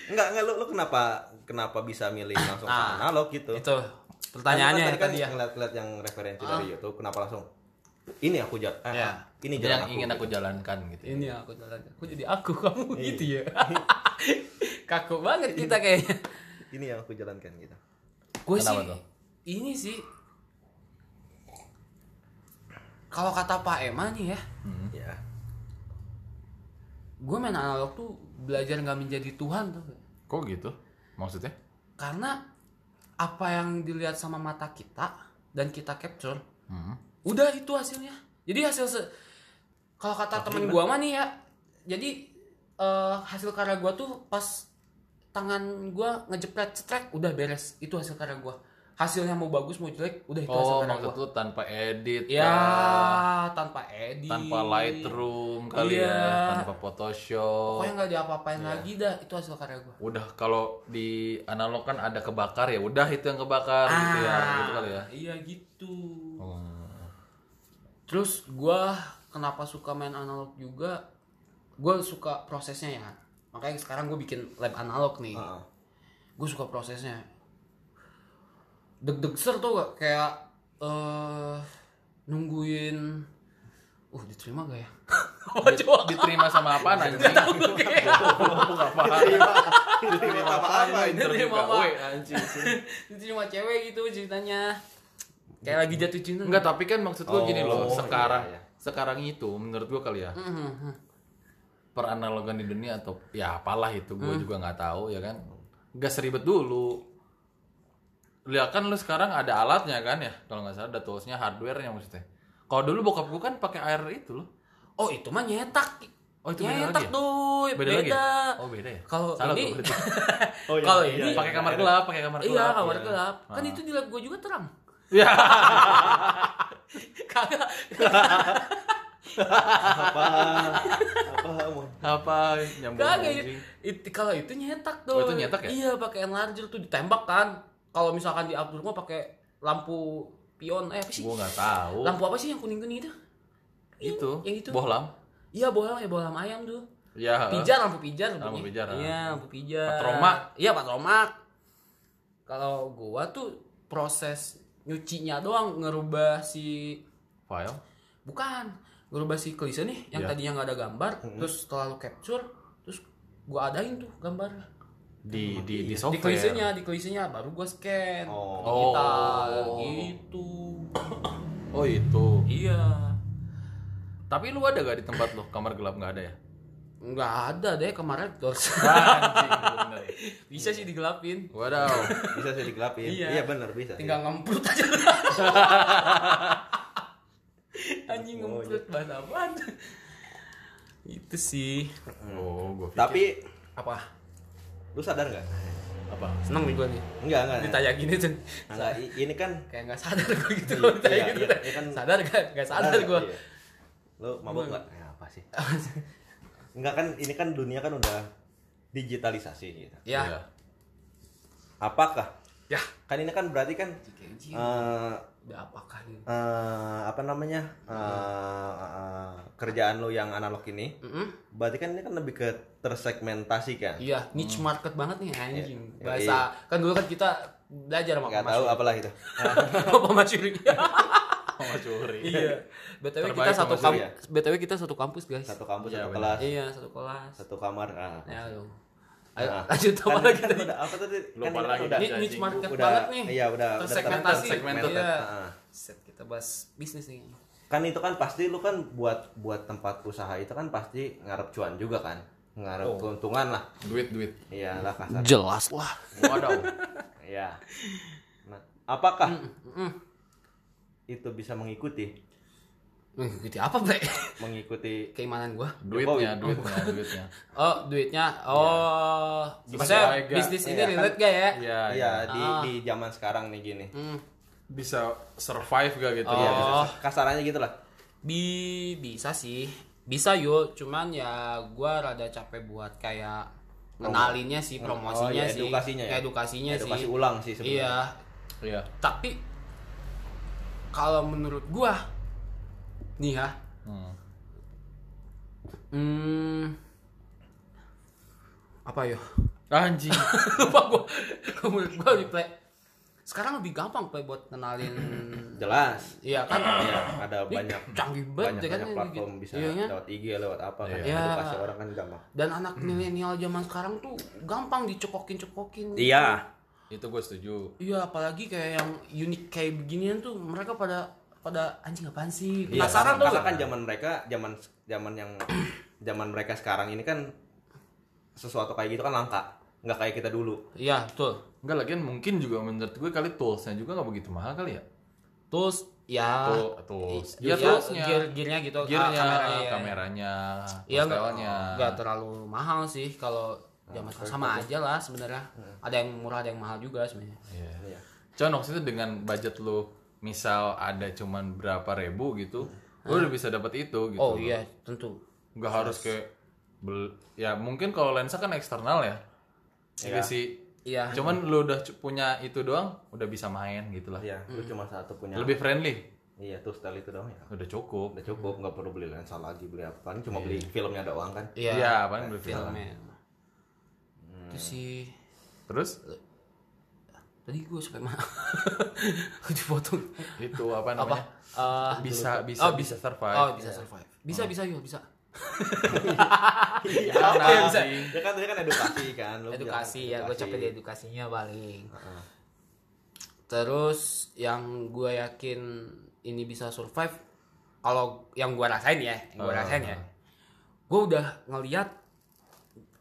Speaker 3: Enggak, enggak lu lu kenapa kenapa bisa milih langsung ke analog gitu?
Speaker 4: itu pertanyaannya Ah.
Speaker 3: Kan lu kan
Speaker 4: tadi
Speaker 3: tadi
Speaker 4: ya
Speaker 3: kan ngeliat-ngeliat yang referensi dari YouTube, kenapa langsung ini aku jalan, eh,
Speaker 4: Iya.
Speaker 3: ini jalan
Speaker 2: yang
Speaker 3: aku.
Speaker 2: ingin aku jalankan gitu.
Speaker 4: ini aku jalan aku jadi aku kamu gitu ya kaku banget kita kayaknya
Speaker 3: Ini yang aku jalankan gitu.
Speaker 4: gue sih
Speaker 2: Kenapa tuh?
Speaker 4: ini sih kalau kata Pak Ema nih ya
Speaker 3: Ya.
Speaker 4: gue main analog tuh belajar nggak menjadi Tuhan tuh
Speaker 2: Kok gitu? Maksudnya?
Speaker 4: karena apa yang dilihat sama mata kita dan kita capture
Speaker 2: Hmm.
Speaker 4: udah itu hasilnya jadi hasil se- kalau kata temen gue mah nih ya jadi eh, hasil karya gue tuh pas tangan gue ngejepret cetrek udah beres itu hasil karya gue hasilnya mau bagus mau jelek udah itu hasil
Speaker 2: Oh,
Speaker 4: karya gue
Speaker 2: maksud lu tanpa edit
Speaker 4: Ya,
Speaker 2: kah?
Speaker 4: tanpa edit.
Speaker 2: tanpa Lightroom kali
Speaker 4: Iya.
Speaker 2: ya, tanpa Photoshop.
Speaker 4: Pokoknya nggak diapa-apain
Speaker 2: Iya.
Speaker 4: lagi dah, itu hasil karya gue.
Speaker 2: Udah kalau di analog kan ada kebakar ya, udah itu yang kebakar
Speaker 4: Ah.
Speaker 2: gitu ya, gitu kali ya.
Speaker 4: Iya gitu.
Speaker 2: Hmm.
Speaker 4: Terus gua kenapa suka main analog juga? Gua suka prosesnya ya. Makanya sekarang gue bikin lab analog nih.
Speaker 3: Heeh.
Speaker 4: Gue suka prosesnya. deg-deg ser tuh gak kayak eh nungguin uh diterima gak ya apa coba
Speaker 2: Diterima sama apa anjing? Gua nggak paham.
Speaker 3: Diterima apa-apa
Speaker 2: Diterima
Speaker 3: ini?
Speaker 4: Diterima
Speaker 2: apa?
Speaker 4: apa?
Speaker 2: Weh, anjing.
Speaker 4: diterima cewek gitu ceritanya kayak lagi jatuh cinta
Speaker 2: Enggak, tapi kan maksud gue gini loh,
Speaker 3: Oh, iya,
Speaker 2: sekarang
Speaker 3: iya.
Speaker 2: sekarang itu menurut gue kali ya.
Speaker 4: Hmm.
Speaker 2: Peranalogan di dunia atau ya apalah itu
Speaker 4: Hmm.
Speaker 2: gue juga nggak tahu ya kan. Gak seribet dulu. Lihat kan lu sekarang ada alatnya kan ya, kalau nggak salah ada toolsnya, hardware-nya maksudnya. Kalau dulu bokap gue kan pakai air itu loh.
Speaker 4: oh itu mah nyetak
Speaker 2: Oh, itu beda
Speaker 4: nyetak
Speaker 2: lagi ya?
Speaker 4: tuh
Speaker 2: Beda, lagi. ya? Oh beda ya.
Speaker 4: kalau
Speaker 2: Salah
Speaker 4: ini
Speaker 2: gua berarti.
Speaker 3: Oh, iya,
Speaker 4: kalau
Speaker 3: iya,
Speaker 4: ini
Speaker 3: iya,
Speaker 2: pakai
Speaker 3: iya.
Speaker 2: kamar gelap, pakai kamar gelap.
Speaker 4: iya kamar
Speaker 2: iya.
Speaker 4: gelap kan itu di lab gue juga terang
Speaker 2: Ya.
Speaker 4: kagak
Speaker 3: Apa? Apa? Mon?
Speaker 2: Apa nyambung
Speaker 4: kagak iya.
Speaker 2: anjing.
Speaker 4: itu kalau itu nyetak
Speaker 2: Oh,
Speaker 4: tuh
Speaker 2: itu nyetak ya?
Speaker 4: iya pakai enlarger tuh ditembak kan kalau misalkan di outdoor mah pakai lampu pion eh apa sih
Speaker 2: Gua nggak tahu.
Speaker 4: lampu apa sih yang kuning kuning itu
Speaker 2: itu.
Speaker 4: yang itu.
Speaker 2: Bohlam.
Speaker 4: iya bohlam ya bohlam ayam tuh
Speaker 2: Ya.
Speaker 4: pijar lampu pijar
Speaker 2: Lampu
Speaker 4: bunyi.
Speaker 2: pijar, ah.
Speaker 4: iya lampu pijar
Speaker 2: Patromak.
Speaker 4: iya patromak kalau gua tuh proses nyucinya doang ngerubah si
Speaker 2: File.
Speaker 4: bukan ngerubah si klise nih yang
Speaker 2: Iya.
Speaker 4: tadinya nggak ada gambar terus setelah lu capture terus gua adain tuh gambarnya
Speaker 2: Di di di
Speaker 4: di
Speaker 2: software.
Speaker 4: klisenya di klisenya baru gua scan
Speaker 3: Oh.
Speaker 4: ke digital
Speaker 2: Oh.
Speaker 4: gitu
Speaker 2: Oh itu.
Speaker 4: iya
Speaker 2: Tapi lu ada gak di tempat lu kamar gelap nggak ada ya?
Speaker 4: nggak ada deh kemarin terus
Speaker 2: Anjing bener.
Speaker 4: bisa sih digelapin
Speaker 2: Wadaw.
Speaker 3: Bisa sih digelapin.
Speaker 4: Iya.
Speaker 3: Iya benar bisa. sih.
Speaker 4: tinggal ngemprut aja anjing ngemprut bahasa apaan itu sih
Speaker 2: Oh, gua pikir.
Speaker 3: Tapi
Speaker 4: apa
Speaker 3: lu sadar nggak?
Speaker 2: apa?
Speaker 4: seneng nih gue nih
Speaker 3: Enggak enggak.
Speaker 4: ditanya gini tuh
Speaker 3: Enggak, i- ini kan
Speaker 4: kayak nggak sadar gue gitu
Speaker 3: Iya,
Speaker 4: kalau ditanya
Speaker 3: iya,
Speaker 4: gitu
Speaker 3: iya, iya kan.
Speaker 4: sadar gak nggak sadar gue
Speaker 3: Iya. Lu mabuk enggak? Ya, apa sih? Enggak kan ini kan dunia kan udah digitalisasi gitu.
Speaker 4: ya
Speaker 2: Iya.
Speaker 3: Apakah?
Speaker 4: ya Iya.
Speaker 3: Kan ini kan berarti kan eh
Speaker 4: udah apakah nih
Speaker 3: eh, apa namanya? eh eh, kerjaan lu yang analog ini.
Speaker 4: Mm-mm.
Speaker 3: Berarti kan ini kan lebih ke tersegmentasi kan?
Speaker 4: Iya, niche market banget nih anjing.
Speaker 3: Iya.
Speaker 4: Bahasa kan dulu kan kita belajar sama
Speaker 3: Enggak tahu apalah itu.
Speaker 4: Apa Mas Yuri?
Speaker 2: Sama curi.
Speaker 4: Iya. BTW
Speaker 2: Terbaik
Speaker 4: kita
Speaker 2: sama Mas
Speaker 3: Yuri,
Speaker 4: satu
Speaker 3: ya?
Speaker 4: kampus. BTW kita satu kampus, guys.
Speaker 3: Satu kampus,
Speaker 2: Iya,
Speaker 3: satu
Speaker 2: benar.
Speaker 3: kelas,
Speaker 4: Iya, satu kelas.
Speaker 3: satu kamar. Ah.
Speaker 4: Ya lu. Ayo
Speaker 3: Nah.
Speaker 4: lanjut apa
Speaker 3: Kan
Speaker 4: lagi
Speaker 3: kan
Speaker 4: tadi?
Speaker 3: udah- apa tadi? Kan
Speaker 2: Lupa
Speaker 3: ini kan
Speaker 2: lagi.
Speaker 3: udah-
Speaker 4: Ini niche
Speaker 2: anjing.
Speaker 4: market
Speaker 3: Udah-
Speaker 4: banget nih.
Speaker 3: iya, udah- udah
Speaker 4: tersegmentasi.
Speaker 2: tersegmented.
Speaker 4: Iya.
Speaker 3: Heeh.
Speaker 4: Set kita bahas bisnis nih. kayaknya.
Speaker 3: kan itu kan pasti lu kan buat buat tempat usaha itu kan pasti ngarep cuan juga kan ngarep keuntungan lah
Speaker 2: Duit duit.
Speaker 3: iyalah kasar
Speaker 4: Jelas lah.
Speaker 2: Wadaw.
Speaker 3: iya nah apakah itu bisa mengikuti
Speaker 4: Mengikuti apa, Bre?
Speaker 3: mengikuti
Speaker 4: Keimanan gua.
Speaker 2: Duitnya, duitnya, duitnya.
Speaker 4: Oh, duitnya. Oh,
Speaker 2: Sesuai
Speaker 4: bisa
Speaker 2: gak?
Speaker 4: bisnis ini
Speaker 3: Iya, kan-
Speaker 4: relate gak ya?
Speaker 2: Iya, iya.
Speaker 3: iya di di zaman sekarang nih gini
Speaker 4: Hmm.
Speaker 2: Bisa survive gak gitu
Speaker 3: Iya,
Speaker 2: ya?
Speaker 4: Oh.
Speaker 3: kasarannya gitu lah
Speaker 4: Bi bisa sih. Bisa yuk, cuman ya gua rada capek buat kayak ngenalinnya sih,
Speaker 3: Oh,
Speaker 4: promosinya
Speaker 3: iya,
Speaker 4: sih.
Speaker 3: edukasinya ya?
Speaker 4: Edukasinya sih.
Speaker 3: edukasi ulang sih sebenarnya
Speaker 4: Iya.
Speaker 2: Iya.
Speaker 4: Tapi kalau menurut gua nih ya,
Speaker 2: Hmm.
Speaker 4: hmm, apa yo?
Speaker 2: Anjing.
Speaker 4: Lupa gua. Kalau menurut gua lebih play. Sekarang lebih gampang play buat kenalin
Speaker 3: jelas
Speaker 4: Iya kan?
Speaker 3: Iya, ada
Speaker 4: Ini
Speaker 3: banyak
Speaker 4: canggih banget
Speaker 3: banyak,
Speaker 4: ya kan
Speaker 3: banyak
Speaker 4: ini
Speaker 3: platform
Speaker 4: gitu.
Speaker 3: bisa
Speaker 4: Iya, kan?
Speaker 3: lewat IG lewat apa kan
Speaker 4: Iya.
Speaker 3: edukasi orang kan gampang
Speaker 4: dan anak milenial zaman sekarang tuh gampang dicekokin-cekokin.
Speaker 3: iya
Speaker 2: Itu gue setuju.
Speaker 4: Iya, apalagi kayak yang unik kayak beginian tuh mereka pada pada anjing apaan sih? Penasaran tuh.
Speaker 3: karena kan zaman mereka zaman zaman yang zaman mereka sekarang ini kan sesuatu kayak gitu kan langka nggak kayak kita dulu
Speaker 4: Iya, betul.
Speaker 2: Enggak lagian mungkin juga menurut gue kali toolsnya juga nggak begitu mahal kali ya.
Speaker 4: Terus ya
Speaker 2: Tool- tools.
Speaker 4: Iya,
Speaker 2: Ya Ah, toolsnya.
Speaker 4: gear-gearnya gitu, ah,
Speaker 3: iya,
Speaker 2: Gearnya,
Speaker 4: kameranya. ya.
Speaker 2: kameranya,
Speaker 4: Iya, nggak-
Speaker 2: pastelnya.
Speaker 4: nggak terlalu mahal sih kalau zaman sekarang sama
Speaker 2: Nah,
Speaker 4: aja lah sebenarnya.
Speaker 2: Hmm.
Speaker 4: Ada yang murah, ada yang mahal juga sebenarnya.
Speaker 2: Iya. Cuman waktu itu dengan budget lu misal ada cuman berapa ribu gitu, lu udah bisa dapat itu gitu.
Speaker 4: Oh iya, tentu.
Speaker 2: Nggak harus kayak bel- ya mungkin kalau lensa kan eksternal ya. Iya sih.
Speaker 4: Iya.
Speaker 2: Cuman lu udah cu- punya itu doang, udah bisa main gitu lah.
Speaker 3: iya lu cuma satu punya
Speaker 2: Lebih friendly.
Speaker 3: iya tuh style itu doang ya
Speaker 2: Udah cukup.
Speaker 3: udah cukup nggak perlu beli lensa lagi beli apa kan cuma beli filmnya doang kan
Speaker 4: Iya.
Speaker 2: Iya, Hmm. paling beli film.
Speaker 4: Filmnya. Itu sih
Speaker 2: Terus
Speaker 4: tadi gue sampai mana dipotong
Speaker 2: Itu apa
Speaker 4: apa
Speaker 2: namanya?
Speaker 4: Eh,
Speaker 2: Bisa bisa
Speaker 4: Oh,
Speaker 2: bisa survive. Iya. Hmm.
Speaker 4: oh bisa survive bisa bisa yuk bisa
Speaker 3: Iya,
Speaker 2: Jangan
Speaker 3: apa yang
Speaker 2: bisa.
Speaker 3: Ya kan tadi kan edukasi kan. Lu
Speaker 4: edukasi ya
Speaker 3: jangan-
Speaker 4: gue capek di edukasinya paling terus yang gue yakin ini bisa survive kalau yang gue rasain ya yang gue rasain ya gue udah ngeliat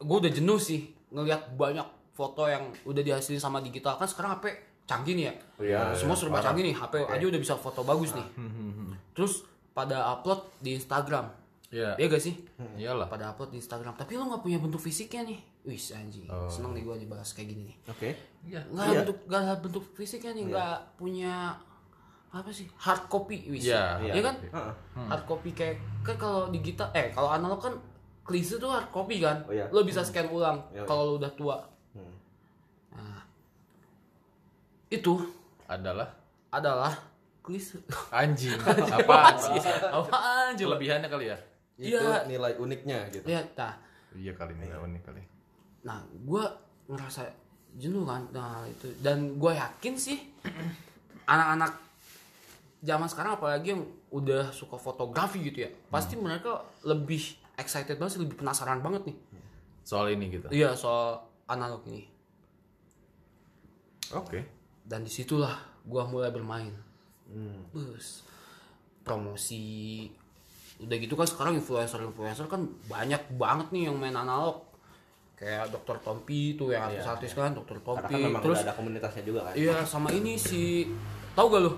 Speaker 4: gue udah jenuh sih ngeliat banyak foto yang udah dihasilin sama digital kan sekarang HP canggih nih ya
Speaker 3: Iya,
Speaker 4: semua
Speaker 3: iya,
Speaker 4: serba
Speaker 3: parah. Nah.
Speaker 4: canggih nih HP aja udah bisa foto bagus nih terus pada upload di Instagram
Speaker 2: Iya.
Speaker 4: Iya gak sih
Speaker 2: Iyalah.
Speaker 4: pada upload di Instagram tapi lo nggak punya bentuk fisiknya nih wis anjing
Speaker 3: Oh.
Speaker 4: seneng nih gue dibahas kayak gini nih
Speaker 3: Oke.
Speaker 2: Iya.
Speaker 4: nggak ada bentuk nggak ada bentuk fisiknya
Speaker 3: Iya.
Speaker 4: nih nggak punya apa sih hard copy wis
Speaker 2: Iya,
Speaker 4: Iya
Speaker 2: iya.
Speaker 4: kan
Speaker 3: Heeh.
Speaker 4: hard copy kayak kan kalau digital eh kalau analog kan klise tuh hard copy kan
Speaker 3: Oh, iya.
Speaker 4: lo bisa scan ulang
Speaker 3: Iya, iya.
Speaker 4: kalau lo udah tua
Speaker 3: Hmm.
Speaker 4: nah, itu
Speaker 2: Adalah
Speaker 4: adalah klise
Speaker 2: anjing. Apaan sih?
Speaker 4: apaan coba
Speaker 2: Kelebihannya kali ya?
Speaker 3: Itu
Speaker 4: Iya.
Speaker 3: nilai uniknya gitu.
Speaker 4: ya nah
Speaker 2: Iya kali ini lawan nih kali.
Speaker 4: Nah, gue ngerasa jenuh kan dengan hal itu. Dan gue yakin sih anak-anak zaman sekarang apalagi yang udah suka fotografi gitu ya, pasti
Speaker 3: Hmm.
Speaker 4: mereka lebih excited banget, sih, lebih penasaran banget nih.
Speaker 2: Soal ini gitu.
Speaker 4: Iya soal analog ini.
Speaker 2: Oke.
Speaker 4: Dan disitulah gue mulai bermain.
Speaker 3: Hmm.
Speaker 4: Bus promosi udah gitu kan sekarang influencer-influencer kan banyak banget nih yang main analog kayak Dr. Tompi tuh yang artis-artis kan Dr.
Speaker 3: Iya. Karena
Speaker 4: Tompi
Speaker 3: kan memang
Speaker 4: terus
Speaker 3: udah ada komunitasnya juga kan.
Speaker 4: Iya sama ini si tahu gak lu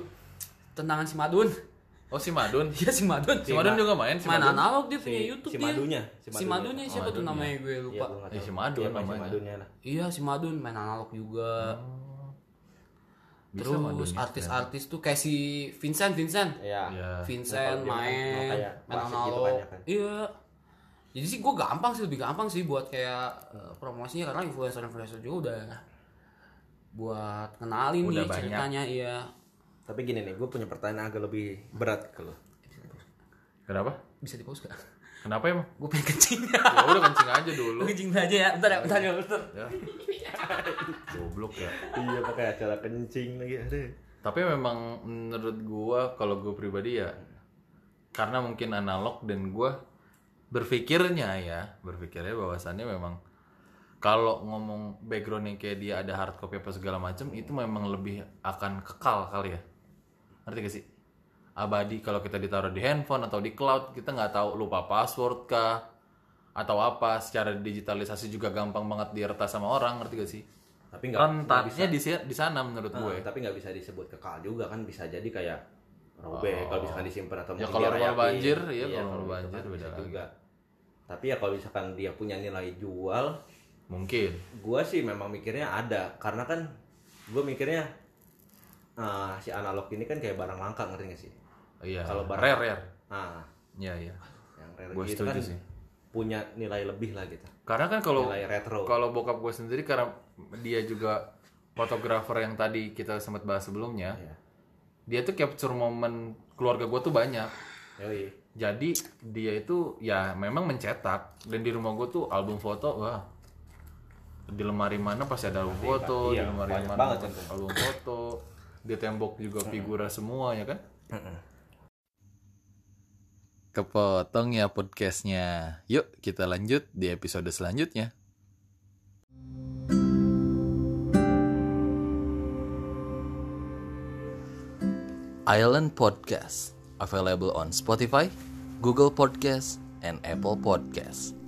Speaker 4: tendangan si Madun?
Speaker 2: Oh si Madun.
Speaker 4: Iya si Madun.
Speaker 2: Si Madun juga main, si
Speaker 4: main
Speaker 2: Madun.
Speaker 4: analog
Speaker 3: Si-
Speaker 4: dia punya YouTube
Speaker 3: si
Speaker 4: dia.
Speaker 3: Madunya,
Speaker 4: Si
Speaker 3: si
Speaker 4: Madunnya,
Speaker 3: Madunya.
Speaker 4: siapa tuh namanya gue
Speaker 3: Iya,
Speaker 4: lupa.
Speaker 3: gua
Speaker 2: Eh,
Speaker 3: nggak tahu.
Speaker 2: si Madun
Speaker 3: Iya, emang si
Speaker 2: namanya.
Speaker 3: Madunnya lah.
Speaker 4: Iya si Madun main analog juga.
Speaker 3: Hmm,
Speaker 2: Bisa
Speaker 4: Terus
Speaker 2: Madunnya,
Speaker 4: artis-artis tuh kayak si Vincent Vincent.
Speaker 3: gitu, kan. Iya.
Speaker 2: Iya.
Speaker 4: Vincent
Speaker 3: Nah, kalau dia kan
Speaker 4: main
Speaker 3: kayak
Speaker 4: main
Speaker 3: klasik gitu
Speaker 4: analog.
Speaker 3: banyak kan.
Speaker 4: Iya. Jadi sih gue gampang sih lebih gampang sih buat kayak eh, promosinya karena influencer-influencer juga udah buat kenalin
Speaker 2: Udah
Speaker 4: nih
Speaker 2: banyak.
Speaker 4: ceritanya iya.
Speaker 3: Tapi gini nih, gue punya pertanyaan agak lebih berat ke lu.
Speaker 2: Kenapa?
Speaker 4: Bisa di pause gak?
Speaker 2: Kenapa emang?
Speaker 4: Gue pengen kencing.
Speaker 2: Ya udah kencing aja dulu.
Speaker 4: Lu kencing aja ya, bentar ya, bentar ya, bentar.
Speaker 2: Ya. Goblok ya.
Speaker 3: iya, pakai acara kencing lagi ada.
Speaker 2: Tapi memang menurut gua kalau gua pribadi ya karena mungkin analog dan gua berpikirnya ya, berpikirnya bahwasannya memang kalau ngomong backgroundnya kayak dia ada hard copy apa segala macam itu memang lebih akan kekal kali ya. Ngerti gak sih? Abadi kalau kita ditaruh di handphone atau di cloud kita nggak tahu lupa password kah atau apa secara digitalisasi juga gampang banget diretas sama orang ngerti gak sih?
Speaker 3: Tapi nggak
Speaker 2: Rentannya di, si- di sana menurut
Speaker 3: Nah,
Speaker 2: gue.
Speaker 3: tapi nggak bisa disebut kekal juga kan bisa jadi kayak robek kalau misalkan disimpan
Speaker 2: Oh.
Speaker 3: atau
Speaker 2: Ya,
Speaker 3: mungkin
Speaker 2: kalau
Speaker 3: dirayakin.
Speaker 2: rumah banjir, iya, kalau
Speaker 3: gitu
Speaker 2: rumah
Speaker 3: kan
Speaker 2: banjir
Speaker 3: bisa
Speaker 2: beda lagi.
Speaker 3: juga. Tapi ya kalau misalkan dia punya nilai jual,
Speaker 2: Mungkin.
Speaker 3: gua sih memang mikirnya ada karena kan gua mikirnya eh, si analog ini kan kayak barang langka ngerti nggak sih?
Speaker 2: Iya.
Speaker 3: Kalau barang-
Speaker 2: rare rare.
Speaker 3: Nah,
Speaker 2: Iya iya.
Speaker 3: yang rare
Speaker 2: Gua
Speaker 3: gitu
Speaker 2: setuju
Speaker 3: kan
Speaker 2: sih.
Speaker 3: punya nilai lebih lah gitu.
Speaker 2: Karena kan kalau
Speaker 3: Nilai retro.
Speaker 2: kalau bokap gue sendiri karena dia juga fotografer yang tadi kita sempat bahas sebelumnya,
Speaker 3: Iya.
Speaker 2: dia tuh capture momen keluarga gue tuh banyak.
Speaker 3: Yoi.
Speaker 2: Jadi dia itu ya memang mencetak dan di rumah gue tuh album foto wah di lemari mana pasti ada album foto,
Speaker 3: Iya,
Speaker 2: di lemari
Speaker 3: banyak
Speaker 2: mana
Speaker 3: banget contohnya.
Speaker 2: album foto, di tembok juga figura semua ya kan? Kepotong ya podcastnya. Yuk kita lanjut di episode selanjutnya. Island Podcast available on Spotify, Google Podcast, and Apple Podcast.